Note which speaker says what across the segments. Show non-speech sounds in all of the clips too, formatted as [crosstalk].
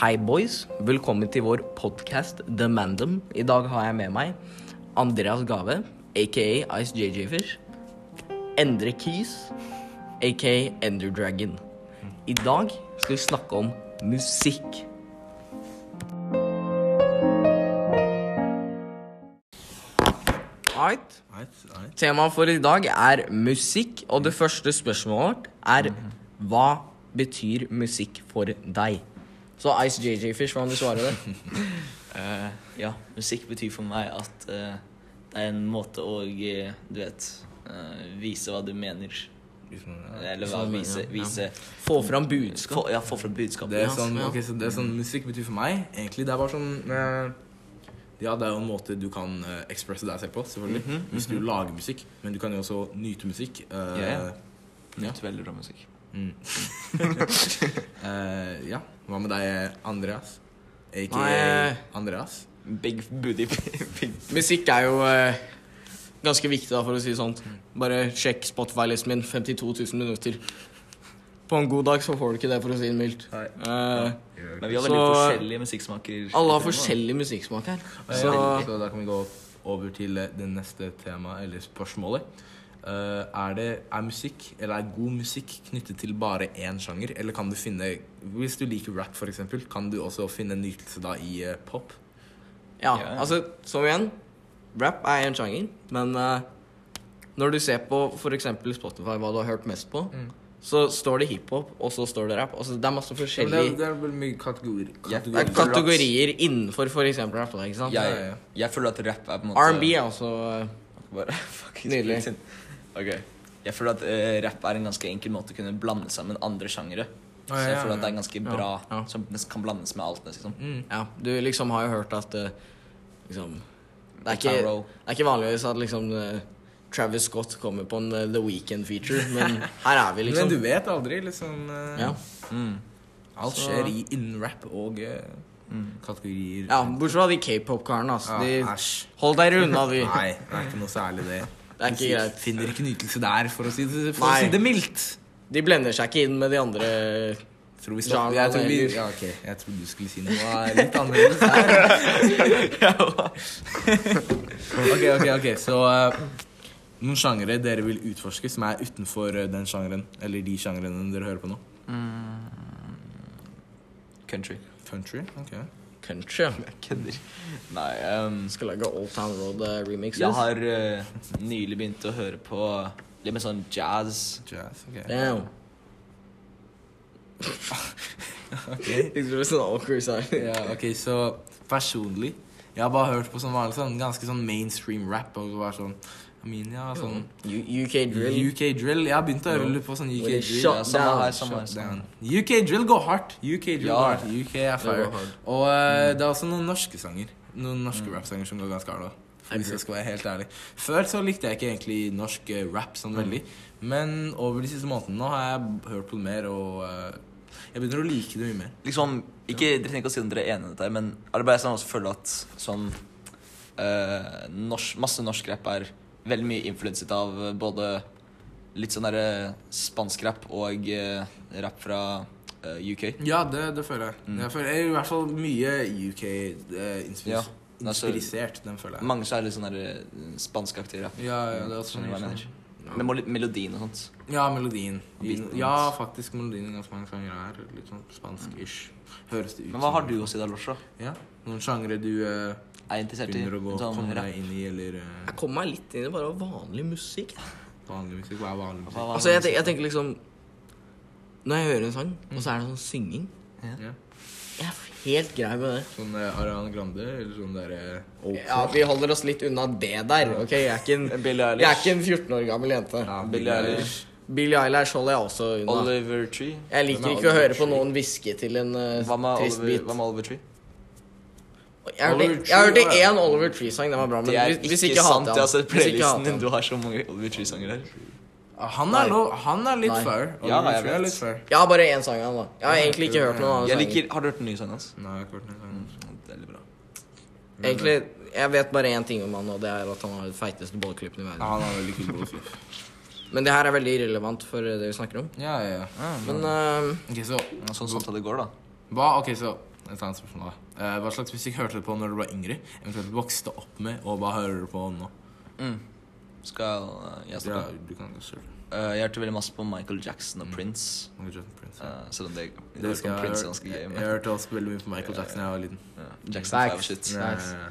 Speaker 1: Hei, boys. Velkommen til vår podkast The Mandom. I dag har jeg med meg Andreas Gave, aka Ice JJ Fish. Endre Keys, aka Ender Dragon. I dag skal vi snakke om musikk. Right.
Speaker 2: Eit, eit.
Speaker 1: Temaet for i dag er musikk, og det første spørsmålet vårt er hva betyr musikk for deg? Så Ice JJ Fish, hva om du svarer det?
Speaker 3: Eh, ja, musikk betyr for meg at eh, det er en måte å, eh, du vet, eh, vise hva du mener.
Speaker 2: Liksom, ja.
Speaker 3: Eller hva,
Speaker 2: Sånn, ja,
Speaker 3: vise,
Speaker 2: ja.
Speaker 3: vise
Speaker 1: Få fram budskap.
Speaker 3: få, Ja, få fram budskapet.
Speaker 2: Det er
Speaker 3: ja.
Speaker 2: sånn,
Speaker 1: ja.
Speaker 2: ok, så det er sånn musikk betyr for meg, egentlig. Det er bare sånn eh, Ja, det er jo en måte du kan eh, ekspresse deg selv på, selvfølgelig.
Speaker 3: Mhm,
Speaker 2: Hvis du lager musikk. Men du kan jo også nyte musikk. eh,
Speaker 3: Ja, ja.
Speaker 2: ja.
Speaker 3: Nytt veldig bra musikk.
Speaker 2: Mm. [laughs] Eh, ja. Hva med deg, Andreas? Ikke
Speaker 1: Nei.
Speaker 2: Andreas?
Speaker 3: Big booty [laughs] big.
Speaker 1: Musikk er jo eh, ganske viktig, da, for å si det sånn. Bare sjekk Spotify-listen min. 52 000 minutter. På en god dag så får du ikke det, for å si det mildt.
Speaker 2: Nei.
Speaker 1: Eh,
Speaker 3: Men vi har veldig
Speaker 1: Så-
Speaker 3: forskjellige musikksmaker.
Speaker 1: alle har forskjellig musikksmak her.
Speaker 2: Så,
Speaker 1: Så
Speaker 2: så da kan vi gå over til eh, det neste temaet, eller spørsmålet. Eh, er, det, er musikk, eller er god musikk knyttet til bare én sjanger? Eller kan du finne Hvis du liker rap, for eksempel, kan du også finne nytelse da i eh, pop?
Speaker 1: ja,
Speaker 3: Ja, ja.
Speaker 1: altså, som igjen Rap er en sjanger, men eh, når du ser på f.eks. Spotify, hva du har hørt mest på, så står det hiphop, og så står det rap. Altså, det er masse
Speaker 2: Mm. Men Det er,
Speaker 1: forskjellige
Speaker 2: det er vel mye kategorier.
Speaker 3: Ja,
Speaker 1: det er
Speaker 2: kategorier.
Speaker 1: kategorier innenfor f.eks. rap. da, ikke sant?
Speaker 2: Ja,
Speaker 3: Jeg,
Speaker 2: ja, ja.
Speaker 3: jeg føler at rap er på en måte
Speaker 1: R&B er også eh,
Speaker 3: Bare, [laughs] fuck,
Speaker 1: Nydelig.
Speaker 3: sprit. Ok. Jeg føler at eh, rapp er en ganske enkel måte å kunne blande sammen andre sjangere.
Speaker 2: Ja,
Speaker 3: Så
Speaker 2: ja,
Speaker 3: jeg
Speaker 2: ja,
Speaker 3: føler at det er
Speaker 2: ja.
Speaker 3: ganske
Speaker 1: Ja,
Speaker 3: bra,
Speaker 1: ja.
Speaker 3: som nesten kan blandes med alt. nesten, Liksom.
Speaker 2: Mm.
Speaker 1: Ja, du liksom har jo hørt at eh, liksom det er, ikke,
Speaker 3: Tyrell.
Speaker 1: det er ikke vanligvis at liksom eh, Travis Scott kommer på en eh, The Weekend-feature, men her er vi,
Speaker 2: [laughs] Men
Speaker 1: liksom.
Speaker 2: du vet aldri, liksom. eh,
Speaker 1: Ja.
Speaker 3: Mm.
Speaker 2: Alt
Speaker 1: Så-
Speaker 2: skjer i innen rap og eh, kategorier.
Speaker 1: ja, Bortsett fra de k-pop-karene. ass.
Speaker 2: Ja,
Speaker 1: De-
Speaker 2: Æsj.
Speaker 1: Hold dere unna, de.
Speaker 2: Nei, det er ikke noe særlig det.
Speaker 1: Det er ikke greit.
Speaker 2: Finner ikke nytelse der, for å si det, for å
Speaker 1: Nei.
Speaker 2: si det mildt.
Speaker 1: De blender seg ikke inn med de andre
Speaker 2: Tror vi
Speaker 1: Genre
Speaker 2: stopper jeg tror, vi,
Speaker 1: eller-
Speaker 2: ja, ok. jeg tror du skulle si noe litt annerledes her.
Speaker 1: [laughs]
Speaker 2: ok, ok, ok. Så eh, noen sjangere dere vil utforske som er utenfor eh, den sjangeren, eller de sjangrene dere hører på nå?
Speaker 3: Mm. Country.
Speaker 2: Country? Ok.
Speaker 1: country. ja.
Speaker 3: Jeg kødder. Nei ehm,
Speaker 1: Jeg skal lage Old Town Road-remixes.
Speaker 3: Jeg har eh, nylig begynt å høre på litt mer sånn jazz.
Speaker 2: Jazz, ok.
Speaker 1: Damn.
Speaker 2: Ok.
Speaker 1: Det blir sånn awkward sorry.
Speaker 2: Ja, ok, så personlig Jeg har bare hørt på sånn vanlig sånn, ganske sånn mainstream rap, og så bare sånn Aminia, sånn
Speaker 1: U- UK drill.
Speaker 2: UK drill. Jeg har begynt å høre litt på sånn UK
Speaker 1: Where they
Speaker 2: drill.
Speaker 1: shut
Speaker 3: Ja, samme
Speaker 1: down,
Speaker 3: her, samme her,
Speaker 2: Shut down.
Speaker 3: samme her.
Speaker 2: UK drill går hardt. UK drill
Speaker 3: Ja.
Speaker 2: går hardt. UK er fire.
Speaker 1: går hardt.
Speaker 2: Og eh, det er også noen norske sanger. Noen norske rapsanger som går ganske hardt. da. Hvis jeg skal være helt ærlig. Før så likte jeg ikke egentlig norsk eh, rap sånn veldig. Men over de siste månedene nå har jeg hørt på det mer, og eh, jeg begynner å like det mye mer.
Speaker 3: Liksom, ikke, Dere trenger ikke å si om dere er enige i dette, her, men er det bare jeg som også føler at sånn eh, norsk, Masse norsk rap er veldig mye influenset av eh, både litt sånn derre spansk rap og eh, rap fra eh, UK.
Speaker 2: Ja, det, det føler jeg. Jeg føler jeg er i hvert fall mye UK-inspirert.
Speaker 3: Ja, altså-
Speaker 2: Inspirisert, den føler jeg.
Speaker 3: Mange så er litt sånn derre eh, spanskaktig rap.
Speaker 2: Ja, ja, det er også
Speaker 3: Skjønner du hva jeg
Speaker 2: sånn.
Speaker 3: mener? Med mol- melodien og sånt.
Speaker 2: Ja, melodien. I-
Speaker 3: Beaten.
Speaker 2: Ja, faktisk melodien i ganske mange sanger er litt sånn spansk-ish. Høres det ut
Speaker 3: Men hva har
Speaker 2: som.
Speaker 3: du å si da, Losha?
Speaker 2: Ja, Noen sjangre du eh,
Speaker 3: Er jeg interessert i
Speaker 2: begynner å gå
Speaker 3: sånn
Speaker 2: komme
Speaker 3: rap?
Speaker 2: deg inn i, eller eh,
Speaker 1: Jeg kom meg litt inn i bare vanlig musikk.
Speaker 2: vanlig musikk? Hva er vanlig musikk?
Speaker 3: Hva- hva-
Speaker 1: Altså, jeg, tenk- jeg tenker liksom Når jeg hører en sang, og så er det sånn synging
Speaker 2: Ja.
Speaker 1: Jeg er helt grei med det.
Speaker 2: Sånn eh, Ariana Grande, eller sånn derre
Speaker 1: Ja, Vi holder oss litt unna det der. ok? Jeg er ikke en,
Speaker 3: Billie
Speaker 1: jeg er ikke en 14 år gammel jente.
Speaker 3: Billie Eilish.
Speaker 1: Billie Eilish holder jeg også unna.
Speaker 3: Oliver Tree?
Speaker 1: Jeg
Speaker 2: Hvem
Speaker 1: liker
Speaker 2: er
Speaker 1: ikke å
Speaker 2: Oliver
Speaker 1: høre på
Speaker 2: Tree?
Speaker 1: noen hviske til en eh,
Speaker 3: Hva med
Speaker 1: trist
Speaker 3: Oliver,
Speaker 1: bit.
Speaker 3: hva med Oliver Tree?
Speaker 1: Jeg hørte-
Speaker 2: Oliver Tree,
Speaker 1: jeg hørte
Speaker 2: ja.
Speaker 1: én Oliver Tree-sang. Den var bra. Men
Speaker 3: Det er
Speaker 1: hvis, hvis
Speaker 3: ikke,
Speaker 1: ikke
Speaker 3: sant.
Speaker 1: hater
Speaker 3: Jeg
Speaker 1: jeg
Speaker 3: har sett
Speaker 1: Hvis ikke
Speaker 3: playlisten
Speaker 1: hater
Speaker 3: din.
Speaker 1: jeg
Speaker 3: Du har så mange Oliver Tree-sanger der.
Speaker 2: Ah, Han er,
Speaker 1: Nei.
Speaker 2: lo, han er litt
Speaker 1: Nei.
Speaker 2: fair.
Speaker 3: Ja, jeg
Speaker 2: Tree er
Speaker 3: vet.
Speaker 2: litt fair.
Speaker 1: Jeg har bare én sang av ham, da. Jeg har egentlig ikke hørt noen annen
Speaker 3: Jeg
Speaker 1: sang.
Speaker 3: liker, Har du hørt den nye sangen hans?
Speaker 2: Nei, jeg har ikke hørt den sangen.
Speaker 3: Det er litt bra.
Speaker 1: Egentlig, jeg vet bare én ting om han, og det er at han har den feiteste bolleklippen i
Speaker 2: Ja,
Speaker 1: verden.
Speaker 2: han er veldig kul bollefyr. [laughs]
Speaker 1: Men det her er veldig irrelevant for eh, det vi snakker om.
Speaker 3: Ah.
Speaker 2: Ja, ja, ja.
Speaker 1: Men eh,
Speaker 2: Ok, så
Speaker 3: Sånn samtale går, da.
Speaker 2: Hva? Ok, så Et annet spørsmål da. Eh, hva slags musikk hørte du på når du var yngre? Eventuelt vokste opp med, og hva hører du på nå?
Speaker 3: Mm. Skal eh, jeg
Speaker 2: Ja,
Speaker 3: starte?
Speaker 2: Altså, du kan ikke selv.
Speaker 3: Eh, jeg hørte veldig masse på Michael Jackson og Prince.
Speaker 2: Michael Jackson, Prince.
Speaker 3: eh, selv om det,
Speaker 2: Det
Speaker 3: det, det
Speaker 2: skal jeg,
Speaker 3: Prince er
Speaker 2: høre.
Speaker 3: ganske gøy.
Speaker 2: jeg,
Speaker 3: Men,
Speaker 2: jeg hørte også veldig mye på Michael Jackson da jeg var liten.
Speaker 3: ja, Jackson er
Speaker 1: Facts.
Speaker 3: jo shit.
Speaker 1: Ja. Nice.
Speaker 2: Ja, ja, ja.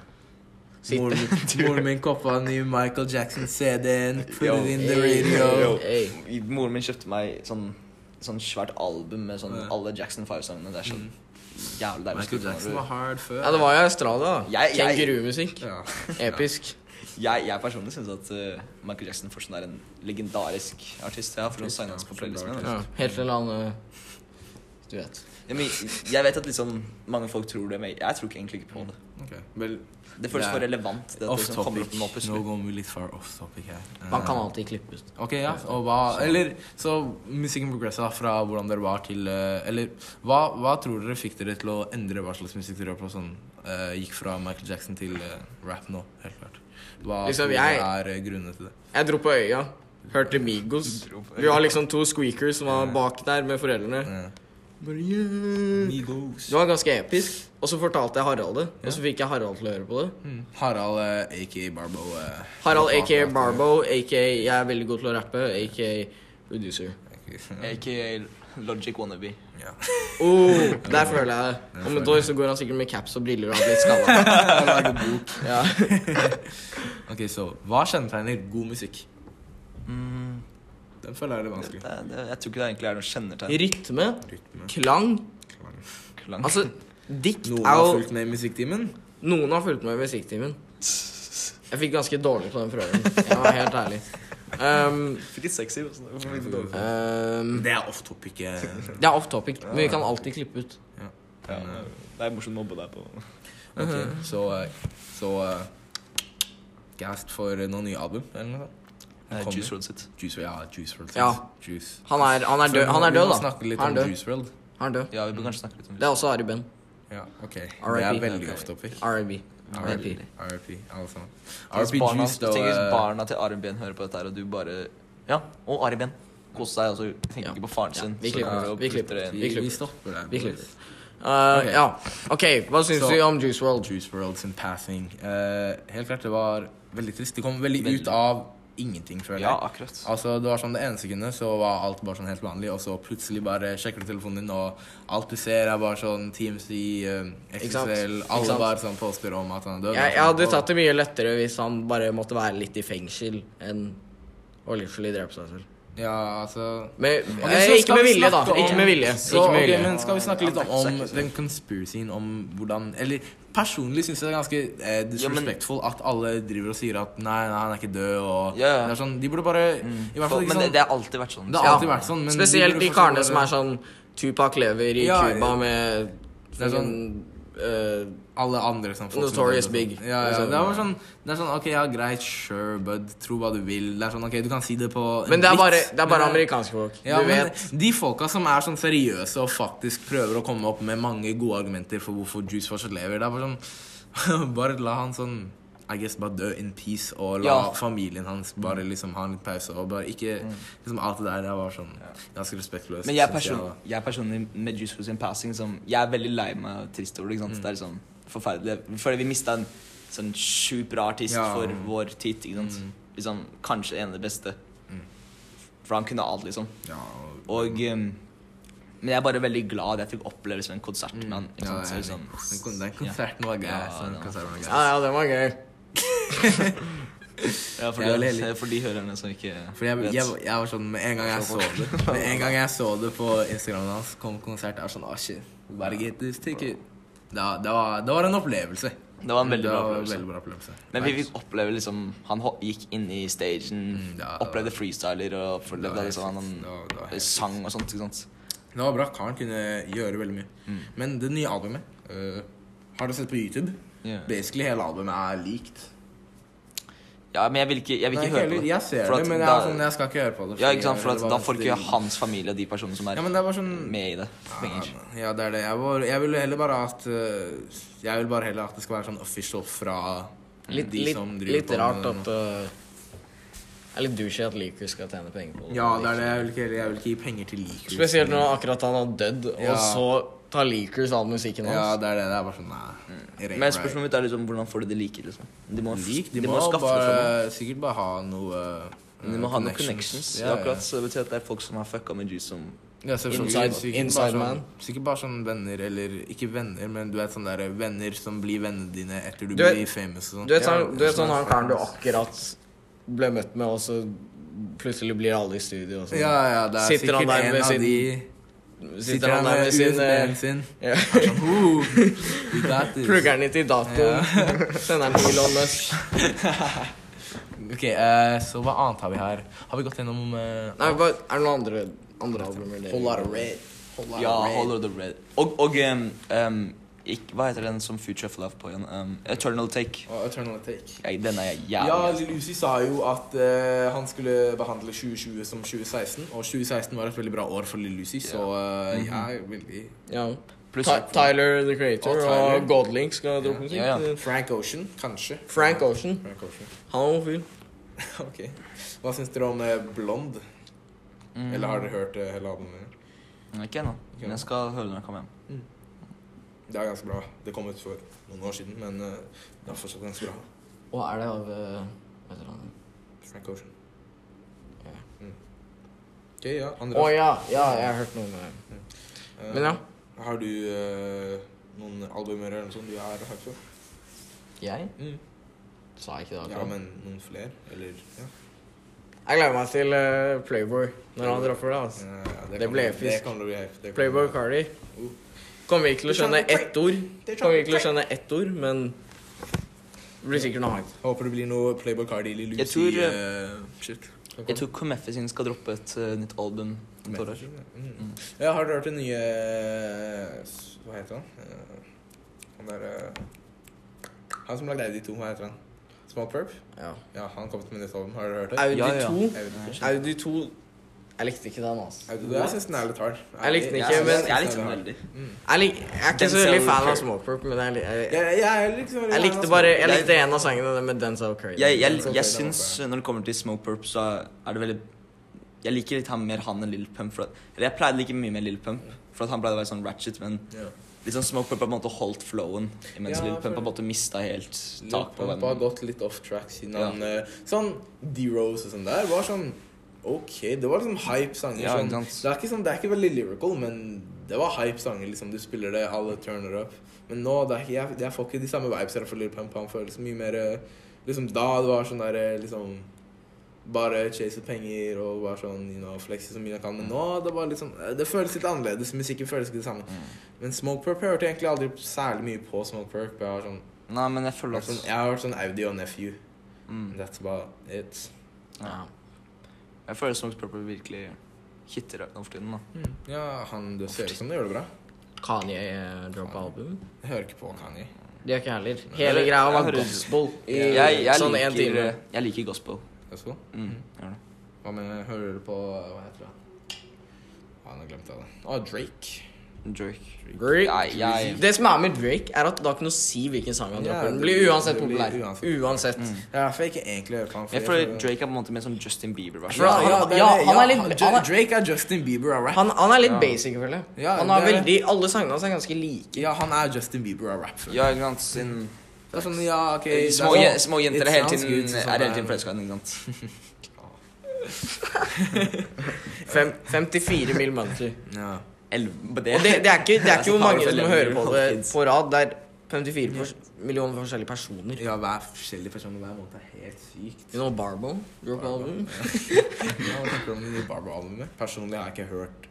Speaker 1: Sitt.
Speaker 2: Moren
Speaker 3: [laughs]
Speaker 2: min- Moren min koppa en ny Michael Jackson-CD-en. Put
Speaker 3: Yo.
Speaker 2: it in the
Speaker 1: Hey,
Speaker 2: radio. Mm.
Speaker 3: Yo.
Speaker 1: hey.
Speaker 3: I- Moren min kjøpte meg sånn, sånn svært album med sånn,
Speaker 2: Ja.
Speaker 3: alle Jackson 5-sangene. Det er sånn jævlig deilig.
Speaker 2: Michael
Speaker 3: å
Speaker 2: Jackson
Speaker 3: skru på
Speaker 2: var
Speaker 3: når du-
Speaker 2: hard før.
Speaker 1: Ja, det var jo Australia, da.
Speaker 3: Jeg- jeg-
Speaker 1: Kengurumusikk.
Speaker 2: Ja.
Speaker 1: Episk.
Speaker 3: Jeg, jeg personlig syns at eh, Michael Jackson fortsatt er en legendarisk artist. Jeg har fortsatt
Speaker 2: Artist,
Speaker 3: signa hans
Speaker 2: ja,
Speaker 3: på
Speaker 2: fortsatt bra
Speaker 3: playlisten. Ja.
Speaker 1: Ja, helt til han eh, Du vet.
Speaker 3: Ja, men jeg vet at liksom mange folk tror det, men jeg tror ikke egentlig ikke på det.
Speaker 2: Ok, Vel,
Speaker 3: Det føles
Speaker 2: Det er
Speaker 3: for relevant. Det at det
Speaker 2: off
Speaker 3: liksom kommer opp
Speaker 2: topic.
Speaker 3: nå
Speaker 2: Nå
Speaker 3: plutselig.
Speaker 2: går vi litt far off topic her. Eh,
Speaker 1: Man kan alltid klippe ut.
Speaker 2: Ok, ja. Og hva Eller så musikken progressa fra hvordan dere var til eh, Eller hva, hva tror dere fikk dere til å endre hva slags musikk dere hører på? Sånn, eh, gikk fra Michael Jackson til eh, rap nå, helt klart. Hva
Speaker 1: Liksom,
Speaker 2: tror
Speaker 1: jeg-
Speaker 2: dere er eh, grunnene
Speaker 1: [laughs]
Speaker 2: til det?
Speaker 1: Jeg dro på øya. Hørte Migos. Vi var liksom to squeakers som var bak der med foreldrene.
Speaker 2: Eh,
Speaker 1: Bare, yeah.
Speaker 2: Migos.
Speaker 1: Det var ganske episk. Og så fortalte jeg Harald det. Og så fikk jeg Harald til å høre på det.
Speaker 2: Mm. Harald, eh, aka Barbo. eh,
Speaker 1: Harald
Speaker 2: hva
Speaker 1: aka
Speaker 2: faen heter det?
Speaker 1: Barbo, aka jeg er veldig god til å rappe, aka producer.
Speaker 3: Aka Logic Wannabe.
Speaker 2: [laughs] Ja.
Speaker 1: Oh, der føler jeg det. Om et år så går han sikkert med caps og briller og har blitt skalla.
Speaker 2: [laughs] Han lagde bok.
Speaker 1: Ja.
Speaker 2: Ok, så Hva kjennetegner god musikk? Den føler jeg er litt
Speaker 3: Mm, Det,
Speaker 2: vanskelig.
Speaker 3: det, jeg tror ikke det egentlig er noe kjennetegn.
Speaker 1: Rytme,
Speaker 2: Rytme.
Speaker 1: klang
Speaker 3: Klang.
Speaker 2: [laughs]
Speaker 3: [laughs]
Speaker 1: Altså, dikt
Speaker 2: Noen
Speaker 1: er
Speaker 2: har
Speaker 1: jo
Speaker 2: fulgt med i Musikktimen.
Speaker 1: Noen har fulgt med i musikktimen. Jeg fikk ganske dårlig på den prøven. Jeg var helt ærlig. Um,
Speaker 3: Fikk litt sexy. altså. også. Hvorfor fikk du dårlig?
Speaker 1: um,
Speaker 2: Det er off topic. eh,
Speaker 1: det er off topic, men vi kan alltid klippe ut.
Speaker 3: Ja, det er morsomt å mobbe deg på.
Speaker 2: Ok,
Speaker 1: Mhm.
Speaker 2: Så, eh, så eh, Gast for noen nye album, eller noe sånt?
Speaker 3: Eh,
Speaker 2: Kommer.
Speaker 3: Juice Road sitt.
Speaker 2: Juice Ja, Juice World.
Speaker 1: Ja.
Speaker 2: Juice.
Speaker 1: Han er, han er død, han er død
Speaker 2: Vi må
Speaker 1: da.
Speaker 2: snakke litt
Speaker 1: Han
Speaker 2: om
Speaker 1: er død.
Speaker 2: Juice World.
Speaker 1: Han er død.
Speaker 3: Ja, vi bør kanskje snakke litt om
Speaker 1: Det er også Ari Ben.
Speaker 2: Ja, ok. Det er
Speaker 1: R.I.P.
Speaker 2: veldig
Speaker 3: Ok.
Speaker 2: off topic.
Speaker 1: R.I.B. R.I.P.
Speaker 3: R.I.P.
Speaker 2: RIP, alle sammen.
Speaker 3: Tenk
Speaker 2: RIP
Speaker 3: hvis barna,
Speaker 2: Juice, da.
Speaker 3: tenk hvis
Speaker 2: eh,
Speaker 3: barna til Ari Behn hører på dette her, og du bare Ja, og Ari Behn. Kos deg, og så tenker
Speaker 1: Ja.
Speaker 3: ikke på faren
Speaker 1: Ja,
Speaker 3: sin.
Speaker 1: vi
Speaker 3: så
Speaker 1: klipper
Speaker 3: kommer
Speaker 1: ut,
Speaker 3: det og
Speaker 1: vi klipper
Speaker 3: putter det
Speaker 1: ut.
Speaker 3: inn.
Speaker 1: Vi klipper.
Speaker 2: eh, stopper der.
Speaker 1: Vi klipper. Uh,
Speaker 2: Ok.
Speaker 1: Ja, OK. Hva syns
Speaker 2: Så-
Speaker 1: du om Juice World?
Speaker 2: Juice Worlds and Passing. Eh, helt klart, det var veldig trist. Det kom veldig ut av ingenting, føler
Speaker 3: Ja,
Speaker 2: jeg.
Speaker 3: akkurat.
Speaker 2: Altså, det var sånn det ene sekundet så var alt bare sånn helt vanlig, og så plutselig bare sjekker du telefonen din, og alt du ser, er bare sånn Teams i eh,
Speaker 1: Ikke sant?
Speaker 2: XXL
Speaker 1: Ikke
Speaker 2: Alle
Speaker 1: sant?
Speaker 2: bare sånn påstår om at han er død. sånn.
Speaker 1: Jeg, jeg hadde tatt det mye lettere hvis han bare måtte være litt i fengsel enn å literally drepe seg selv.
Speaker 2: Ja, altså
Speaker 1: Men,
Speaker 2: Ok,
Speaker 1: eh,
Speaker 2: så
Speaker 1: ikke
Speaker 2: skal
Speaker 1: med
Speaker 2: vi
Speaker 1: vilje, da.
Speaker 2: snakke om-
Speaker 1: Ikke med vilje.
Speaker 2: Så,
Speaker 1: Ikke med
Speaker 2: ok,
Speaker 1: vilje.
Speaker 2: men skal vi snakke litt om, om
Speaker 3: Ja, det er
Speaker 2: den conspiracyen om hvordan Eller personlig syns jeg det er ganske eh, disrespectful at alle driver og sier at nei, nei, han er ikke død, og
Speaker 3: Ja, ja.
Speaker 2: Det er sånn, De burde bare
Speaker 1: Mm.
Speaker 2: I hvert fall ikke
Speaker 3: Men det,
Speaker 2: sånn
Speaker 3: det har alltid vært sånn.
Speaker 2: Det har alltid vært sånn, men
Speaker 1: Spesielt de karene som er sånn Tupac lever i
Speaker 2: Ja,
Speaker 1: Cuba med
Speaker 2: Det er sånn-
Speaker 1: fucking, eh,
Speaker 2: Alle andre som folk som
Speaker 1: Notorious
Speaker 2: døde og
Speaker 1: Big.
Speaker 2: sånn. Ja, ja,
Speaker 1: Altså-
Speaker 2: det er bare sånn Det er sånn OK, ja, greit, sure, bud. Tro hva du vil. Det er sånn OK, du kan si det på en
Speaker 1: Men det er
Speaker 2: vits,
Speaker 1: bare, det er bare
Speaker 2: men det-
Speaker 1: amerikanske folk.
Speaker 2: Ja,
Speaker 1: du
Speaker 2: men
Speaker 1: vet.
Speaker 2: de folka som er sånn seriøse og faktisk prøver å komme opp med mange gode argumenter for hvorfor Juice fortsatt lever, det er bare sånn [laughs] Bare la han sånn I guess bare dø in peace, og la
Speaker 3: Ja.
Speaker 2: familien hans bare liksom ha en litt pause. Og bare ikke
Speaker 1: Mm.
Speaker 2: liksom Alt det der det var sånn ganske respektløst.
Speaker 3: Men jeg,
Speaker 2: synes
Speaker 3: person,
Speaker 2: da.
Speaker 3: jeg personlig med Juice WRLD sin passing som, Jeg er veldig lei meg og trist over det.
Speaker 2: Mm.
Speaker 3: ikke sant? Det er sånn forferdelig. Fordi vi mista en sånn sjukt bra artist
Speaker 2: Ja. Mm.
Speaker 3: for vår tid. ikke sant? Liksom, kanskje en av de beste. For han kunne alt, liksom.
Speaker 2: ja,
Speaker 3: Og
Speaker 2: Mm.
Speaker 3: um, Men jeg er bare veldig glad jeg fikk oppleve liksom, en konsert med han. ikke
Speaker 2: Mm. ja,
Speaker 3: sant?
Speaker 2: jeg-
Speaker 3: Så liksom,
Speaker 2: den kon- Den konserten var gøy.
Speaker 3: Ja,
Speaker 2: så den
Speaker 3: ja.
Speaker 2: konserten var gøy.
Speaker 1: Ja, ja, det var gøy.
Speaker 3: ja, for,
Speaker 2: Jeg er veldig
Speaker 3: de,
Speaker 2: heldig.
Speaker 3: for de hørerne som ikke
Speaker 2: For jeg,
Speaker 3: vet.
Speaker 2: jeg, jeg var sånn, Med en gang jeg så det Med en gang jeg så det på Instagramen hans, kom konsert, jeg var sånn Å, shit. Bare get this ticket. Da, det, var, det var en opplevelse.
Speaker 3: Det var en veldig
Speaker 2: Det
Speaker 3: bra
Speaker 2: var en
Speaker 3: opplevelse.
Speaker 2: veldig bra opplevelse.
Speaker 3: Men vi fikk oppleve liksom Han ho- gikk inn i stagen,
Speaker 2: Mm, ja, det
Speaker 3: opplevde freestyler og opplevde
Speaker 2: Det var helt
Speaker 3: liksom,
Speaker 2: sykt. Det
Speaker 3: han,
Speaker 2: var- det var helt
Speaker 3: sang og sånt. ikke sant?
Speaker 2: Det var bra. Karen kunne gjøre veldig mye.
Speaker 3: Mm.
Speaker 2: Men det nye albumet øh, Har du sett på YouTube?
Speaker 3: Ja.
Speaker 2: Basically hele albumet er likt.
Speaker 3: Ja, men jeg vil ikke, jeg vil ikke høre på det.
Speaker 2: Jeg ser
Speaker 3: For at
Speaker 2: det, men jeg,
Speaker 3: da,
Speaker 2: er sånn, jeg skal ikke høre på det.
Speaker 3: ja, ikke sant? For
Speaker 2: det
Speaker 3: at
Speaker 2: var
Speaker 3: da
Speaker 2: bare
Speaker 3: får
Speaker 2: så
Speaker 3: ikke hans familie og de personene som er
Speaker 2: Ja, men det var sånn
Speaker 3: med i det, penger.
Speaker 2: Ja, det er det. Jeg, var, jeg ville heller bare at øh, Jeg vil bare heller at det skal være sånn official fra
Speaker 1: Litt,
Speaker 2: de
Speaker 1: litt,
Speaker 2: som driver
Speaker 1: litt
Speaker 2: på
Speaker 1: rart
Speaker 2: med
Speaker 1: at
Speaker 2: det nå.
Speaker 1: uh, er litt douchey at Liku skal tjene penger på
Speaker 2: Ja, det er det. Jeg vil ikke, jeg vil ikke gi penger til Likus.
Speaker 1: Spesielt når akkurat han har dødd, og
Speaker 2: Ja.
Speaker 1: så tar Leakers all musikken
Speaker 2: Ja,
Speaker 1: hans.
Speaker 2: det er det. Det er bare sånn, nei.
Speaker 1: Mm.
Speaker 2: it ain't
Speaker 3: Men spørsmålet mitt er liksom hvordan får de det like? liksom De må,
Speaker 2: right. Lik,
Speaker 3: de må, skaffe det for noe.
Speaker 2: bare, sikkert bare ha noe eh,
Speaker 3: De må ha noen connections.
Speaker 2: Ja, ja.
Speaker 3: akkurat, så det betyr at det er folk som har fucka med Juice som
Speaker 2: Ja, selvfølgelig.
Speaker 1: Inside-
Speaker 2: sikkert
Speaker 1: inside
Speaker 2: bare sånn,
Speaker 1: man.
Speaker 2: Sikkert bare sånn venner, eller ikke venner, men du vet sånn der venner som blir vennene dine etter du,
Speaker 1: Du vet-
Speaker 2: blir famous og sånn.
Speaker 1: Du vet
Speaker 2: Ja,
Speaker 1: sånn, du vet sånn han karen du
Speaker 2: friends.
Speaker 1: akkurat ble møtt med, og så plutselig blir alle i studio og sånn.
Speaker 2: Ja, ja, det er
Speaker 1: Sitter han
Speaker 2: sikkert
Speaker 1: der
Speaker 2: en
Speaker 1: med
Speaker 2: av
Speaker 1: sin-
Speaker 2: de
Speaker 1: Sitter han der med sin
Speaker 2: USB-en
Speaker 1: eh,
Speaker 2: sin.
Speaker 1: ja.
Speaker 2: Er [laughs] sånn, «Ooh, we got this».
Speaker 1: Plugger den inn til datoen, [laughs] sender den til Elon Musk.
Speaker 2: Ok, eh, så hva annet har vi her? Har vi gått gjennom eh,
Speaker 1: Nei, hva, er det noen andre, andre albumer dere-
Speaker 3: Ja, Hold of the Red. Og, og em, em, ikk- Hva heter den som Future of Love på igjen? Em, Eternal Take.
Speaker 2: Og Eternal Take.
Speaker 3: Jeg, den er jeg jævlig
Speaker 2: Ja,
Speaker 3: glad i.
Speaker 2: Lucy sa jo at eh, han skulle behandle 2020 som 2016, og 2016 var et veldig bra år for Lille Lucy, så eh, jeg er veldig
Speaker 1: Ja.
Speaker 3: Pluss-
Speaker 1: Ty Tyler the Creator
Speaker 2: Og
Speaker 1: og,
Speaker 2: Tyler.
Speaker 1: Godlink skal droppe musikk.
Speaker 3: Ja, ja.
Speaker 2: Frank Ocean, kanskje.
Speaker 1: Frank Ocean.
Speaker 2: Frank Ocean. [laughs]
Speaker 1: Han er homofil.
Speaker 2: Ok. Hva syns dere om eh, Blond?
Speaker 3: Mm.
Speaker 2: Eller har dere hørt eh, hele albumet?
Speaker 3: Ikke ennå. Men jeg skal høre når jeg kommer hjem.
Speaker 2: Det er ganske bra. Det kom ut for noen år siden, men eh, det er fortsatt ganske bra.
Speaker 1: Og er det av eh, Vet du hva han er?
Speaker 2: Frank Ocean.
Speaker 1: Ja.
Speaker 2: Mm. Ok, ja.
Speaker 1: Å
Speaker 2: Andre.
Speaker 1: ja, ja, jeg har hørt noe om det.
Speaker 2: Eh,
Speaker 1: Men ja.
Speaker 2: Har du eh, noen albumer eller noe sånt du er hyped for? Mm.
Speaker 1: Jeg sa ikke det
Speaker 2: Ja,
Speaker 1: akkurat.
Speaker 2: men noen flere? Eller ja.
Speaker 1: Jeg gleder meg til eh, Playboy når han dropper det. altså.
Speaker 2: Eh, ja,
Speaker 1: Det ble
Speaker 2: kommer- Det
Speaker 1: episk.
Speaker 2: kommer til å bli hype. det kommer-
Speaker 1: Playboy Cardi. Kommer vi ikke til å skjønne ett ord, Kommer vi ikke til å skjønne ett ord, men det blir sikkert noe hype.
Speaker 2: Håper det blir noe Playboy Cardi eller Lucy.
Speaker 3: Jeg tror,
Speaker 2: eh, shit.
Speaker 3: Jeg tror Komefe sin skal droppe et eh, nytt album. om et par år.
Speaker 2: Mm. Ja, har du hørt den nye eh, s- Hva heter han? Eh, Han derre Han som lagde Audi 2, hva heter han? Small Perp?
Speaker 1: Ja.
Speaker 2: Ja, han kom med nytt album. Har dere hørt det?
Speaker 1: Audi
Speaker 3: Ja, ja.
Speaker 1: 2
Speaker 2: Audi 2.
Speaker 1: Audi 2 Jeg likte ikke den, altså.
Speaker 2: Audi 2. Jeg syns den er litt hard.
Speaker 1: Jeg likte den
Speaker 3: Jeg
Speaker 1: ikke,
Speaker 3: synes-
Speaker 1: men-
Speaker 3: jeg sånn likte den veldig.
Speaker 2: Mm.
Speaker 1: Jeg, lik, jeg er ikke så
Speaker 3: Denzel
Speaker 1: veldig fan av
Speaker 3: Curry.
Speaker 1: Smokeperp, men jeg, li- jeg, jeg,
Speaker 2: Jeg, jeg, er liksom,
Speaker 1: jeg likte bare Jeg
Speaker 3: Jeg-
Speaker 1: likte en av sangene den med Denzel Curry.
Speaker 3: Jeg, jeg,
Speaker 2: Denzel
Speaker 3: jeg,
Speaker 2: Curry,
Speaker 3: syns eh,
Speaker 2: den
Speaker 3: når det kommer til Smoke Purp, så er det veldig Jeg liker litt han mer han enn Lil Pump. For at, eller jeg pleide like mye med Lil Pump, for at han pleide å være sånn ratchet, men
Speaker 2: Ja.
Speaker 3: liksom Smoke Purp har på en måte holdt flowen, imens
Speaker 2: Ja,
Speaker 3: Lil Pump
Speaker 2: for-
Speaker 3: har på en måte mista helt tak på
Speaker 2: Pump har
Speaker 3: hvem
Speaker 2: gått litt off track siden
Speaker 3: Ja.
Speaker 2: han eh, Sånn D-Rose og sånn der var sånn OK, det var liksom hype sanger.
Speaker 3: Ja,
Speaker 2: sånn,
Speaker 3: ikke sant.
Speaker 2: det, er ikke sånn, det er ikke veldig lyrical, men det var hype sanger. liksom Du spiller det, alle turner up. Men nå det er ikke, jeg, jeg får ikke de samme vibes her for Lil Pump. Han føles mye mer eh, liksom, Da det var sånn der eh, liksom bare chase penger og bare sånn you know, flexe så mye han kan. Men nå det var litt sånn, eh, det føles litt annerledes. Musikken føles ikke det samme. Men Smoke Perp jeg hørte egentlig aldri særlig mye på Smoke Perp. Jeg har sånn
Speaker 3: Nei, men jeg
Speaker 2: jeg
Speaker 3: føler
Speaker 2: har
Speaker 3: at
Speaker 2: sånn, jeg har hørt sånn Audi og Nephew.
Speaker 3: mm,
Speaker 2: That's about it.
Speaker 1: Ja.
Speaker 3: Jeg føler Smoke Purp virkelig hitter nå for tiden. da
Speaker 2: Ja, han du ser ut som det gjør det bra.
Speaker 1: Kanye eh, droppa album.
Speaker 2: Jeg hører ikke på Kanye.
Speaker 1: Det gjør ikke jeg heller.
Speaker 3: Jeg
Speaker 1: Hele
Speaker 3: hører-
Speaker 1: greia
Speaker 3: jeg
Speaker 1: var
Speaker 3: hører-
Speaker 1: gospel. I
Speaker 2: Eh,
Speaker 3: Jeg, jeg,
Speaker 1: sånn en
Speaker 3: liker,
Speaker 1: time.
Speaker 3: jeg liker gospel.
Speaker 2: Også.
Speaker 3: Mm, gjør det.
Speaker 2: Hva med Hører du på eh, Hva heter han? Han har glemt av det.
Speaker 3: eh,
Speaker 2: Å, Drake.
Speaker 3: Drake.
Speaker 1: Drake.
Speaker 3: Jeg, jeg,
Speaker 1: Det som er med Drake, er at det har ikke noe å si hvilken sang han
Speaker 2: Ja,
Speaker 1: dropper. Den
Speaker 2: det
Speaker 1: blir
Speaker 2: blir-
Speaker 1: uansett
Speaker 2: det blir
Speaker 1: populær.
Speaker 2: uansett. Mm.
Speaker 1: Uansett.
Speaker 2: Ja, for jeg ikke egentlig hører på han. for
Speaker 3: jeg
Speaker 2: jeg
Speaker 3: føler
Speaker 2: føler-
Speaker 3: Drake er på en måte mer som Justin Bieber-versjon.
Speaker 1: For han-
Speaker 2: det er
Speaker 1: ja,
Speaker 2: det.
Speaker 1: han er litt-
Speaker 2: Ju-
Speaker 1: han er-
Speaker 2: Drake er Justin Bieber av rap.
Speaker 1: Han, han er litt
Speaker 3: Ja.
Speaker 1: basic, føler jeg.
Speaker 2: Ja,
Speaker 1: han har
Speaker 2: det er-
Speaker 1: veldig, Alle sangene hans er ganske like.
Speaker 2: ja, han er Justin Bieber av rap. føler jeg.
Speaker 3: Ja, ikke sant? Sin,
Speaker 2: Det er sånn, ja, ok det er
Speaker 3: små,
Speaker 2: sånn-
Speaker 3: je- små jenter
Speaker 2: it
Speaker 3: er hele
Speaker 2: sounds
Speaker 3: tiden,
Speaker 2: good, sånn
Speaker 3: er hele
Speaker 2: der.
Speaker 3: tiden forelska i henne,
Speaker 1: [laughs]
Speaker 3: ikke sant?
Speaker 1: Fem, 54 mill.
Speaker 2: [laughs]
Speaker 1: måneder.
Speaker 2: Ja.
Speaker 3: Elleve- på
Speaker 1: Og det, det er ikke, det er ikke
Speaker 3: Altså,
Speaker 1: hvor mange
Speaker 3: Paolo
Speaker 1: som
Speaker 3: Level
Speaker 1: hører på det
Speaker 3: Hopkins.
Speaker 1: på rad. Det er 54 fors millioner forskjellige personer.
Speaker 2: ja, hver forskjellig person og hver måned er helt sykt.
Speaker 1: You know Barbell? Drop album?
Speaker 2: Ja, hva tenker du om det nye Barbara-albumet? Personlig har jeg ikke hørt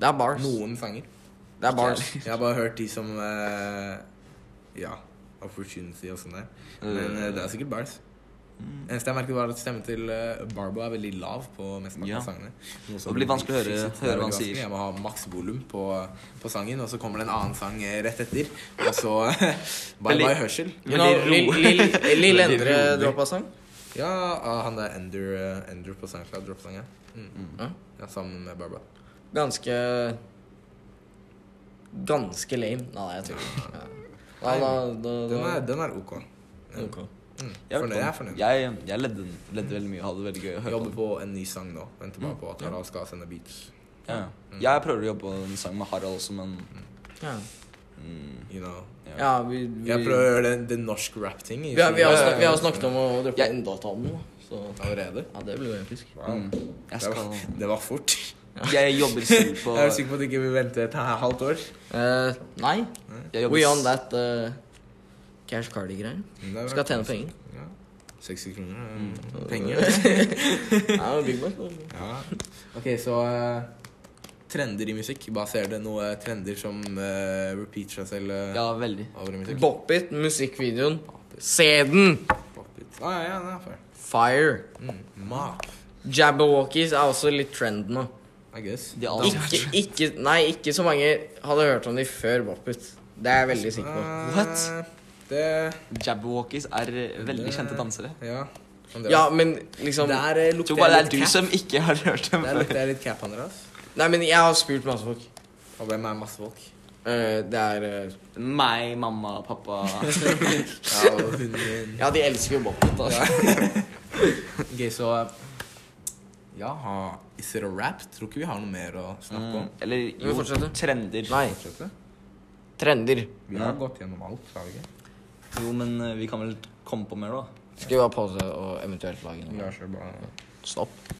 Speaker 1: Det er bars.
Speaker 2: noen sanger.
Speaker 1: Det er bars.
Speaker 2: Jeg har bare hørt de som eh, Ja, Opportunity og sånn der.
Speaker 3: Mm.
Speaker 2: Men eh, det er sikkert bars. Eneste jeg merket, var at stemmen til eh, Barbo er veldig lav på mesteparten
Speaker 3: Ja.
Speaker 2: av sangene. Noe som-
Speaker 3: Det blir vanskelig å høre-
Speaker 2: Shit, det er
Speaker 3: høre hva han
Speaker 2: veldig vanskelig.
Speaker 3: sier.
Speaker 2: Jeg må ha maks volum på, på sangen, og så kommer det en annen sang eh, rett etter. Og så [laughs] Bye
Speaker 3: Veldig-
Speaker 2: bye hørsel.
Speaker 1: You know,
Speaker 3: Veldig
Speaker 1: Lill-
Speaker 3: ro.
Speaker 2: [laughs]
Speaker 1: Lill- Lill
Speaker 3: Veldig
Speaker 1: Endre
Speaker 3: rolig.
Speaker 1: droppa sang.
Speaker 2: Ja, ah, han der Ender, eh, Ender på SoundCloud droppet sangen. Mm.
Speaker 1: Ja.
Speaker 2: Ja, sammen med Barba.
Speaker 1: Ganske Ganske lame. Nei, jeg tror ikke Ja. Nei, da, da,
Speaker 2: Den
Speaker 1: da.
Speaker 2: er, den er ok.
Speaker 1: Ok.
Speaker 2: Mm.
Speaker 3: Jeg,
Speaker 2: Fornøyd, jeg er
Speaker 3: fornøyd.
Speaker 2: fornøyd.
Speaker 3: jeg, jeg ledde, ledde veldig mye og hadde det veldig gøy. å høre på
Speaker 2: Jobber på en ny sang nå. Venter bare på at
Speaker 1: Mm.
Speaker 2: Harald skal sende beats.
Speaker 3: Ja. Jeg prøver å jobbe på en sang med Harald også, men
Speaker 1: Ja,
Speaker 3: mm,
Speaker 2: You know.
Speaker 3: ja.
Speaker 1: ja vi, vi,
Speaker 2: Jeg prøver å gjøre det, det norsk rap-ting. i
Speaker 1: vi, har, vi, har
Speaker 2: fjor.
Speaker 1: snak, vi har snakket om å droppe
Speaker 3: Jeg-
Speaker 1: Endatanen, da, så
Speaker 2: [laughs] Allerede?
Speaker 1: Ja, det blir jo episk.
Speaker 3: Mm. Jeg,
Speaker 2: Det var,
Speaker 3: skal,
Speaker 2: [laughs] det var fort.
Speaker 3: jeg jobber selv
Speaker 1: [laughs]
Speaker 3: på
Speaker 2: Jeg er sikker på at ikke vi venter et her- halvt år.
Speaker 1: Eh, nei,
Speaker 3: jeg jobber
Speaker 1: we
Speaker 3: s-
Speaker 1: on that eh, cash cardi-greier.
Speaker 2: Men det er
Speaker 1: Skal
Speaker 2: bra.
Speaker 1: tjene penger.
Speaker 2: Ja. 60 kroner. eh,
Speaker 3: Mm.
Speaker 1: [laughs]
Speaker 2: Penger.
Speaker 1: Ja, Big Mac.
Speaker 2: Ja. Ok, så eh, trender i musikk. Hva ser du? Noe trender som eh, repeater seg selv eh,
Speaker 3: Ja, veldig.
Speaker 2: over i musikk?
Speaker 1: Bop it, musikkvideoen. Se den!
Speaker 2: Bop it. Ah, ja, ja, det er fair.
Speaker 1: Fire.
Speaker 2: Mm. Map,
Speaker 1: Jabberwockies er også litt trend nå.
Speaker 2: I guess.
Speaker 3: De er alle
Speaker 1: Ikke, ikke, nei, ikke så mange hadde hørt om de før Bop it. Det er jeg veldig sikker på.
Speaker 2: Eh,
Speaker 3: What?
Speaker 2: Det
Speaker 3: Jabberwockies er veldig kjente dansere.
Speaker 2: Ja. Andreas.
Speaker 1: Ja, men liksom
Speaker 2: Der eh,
Speaker 3: Jeg tror
Speaker 2: lukter
Speaker 3: bare det
Speaker 2: jeg
Speaker 3: er
Speaker 2: litt
Speaker 3: du
Speaker 2: cap.
Speaker 3: som ikke har hørt dem
Speaker 2: Der
Speaker 3: før.
Speaker 2: lukter jeg litt cap, Andreas.
Speaker 1: Nei, men jeg har spurt masse folk.
Speaker 2: Og hvem er masse folk?
Speaker 1: Eh, det er eh,
Speaker 3: Meg, mamma, [laughs] pappa
Speaker 2: Ja, og hunden min.
Speaker 1: Ja, de elsker jo Bop it, altså.
Speaker 2: Ok, så Ja, ha- is it a rap? Tror ikke vi har noe mer å snakke om.
Speaker 3: mm, Eller
Speaker 1: vi
Speaker 3: jo,
Speaker 1: fortsette?
Speaker 3: trender.
Speaker 1: Nei.
Speaker 2: Fortsette.
Speaker 1: Trender.
Speaker 2: Vi har
Speaker 3: Ja.
Speaker 2: gått gjennom alt, har vi ikke?
Speaker 3: Jo, men eh, vi kan vel komme på mer, da.
Speaker 1: Skriv av pause og eventuelt lage noe.
Speaker 2: Lars er bare
Speaker 1: Stopp.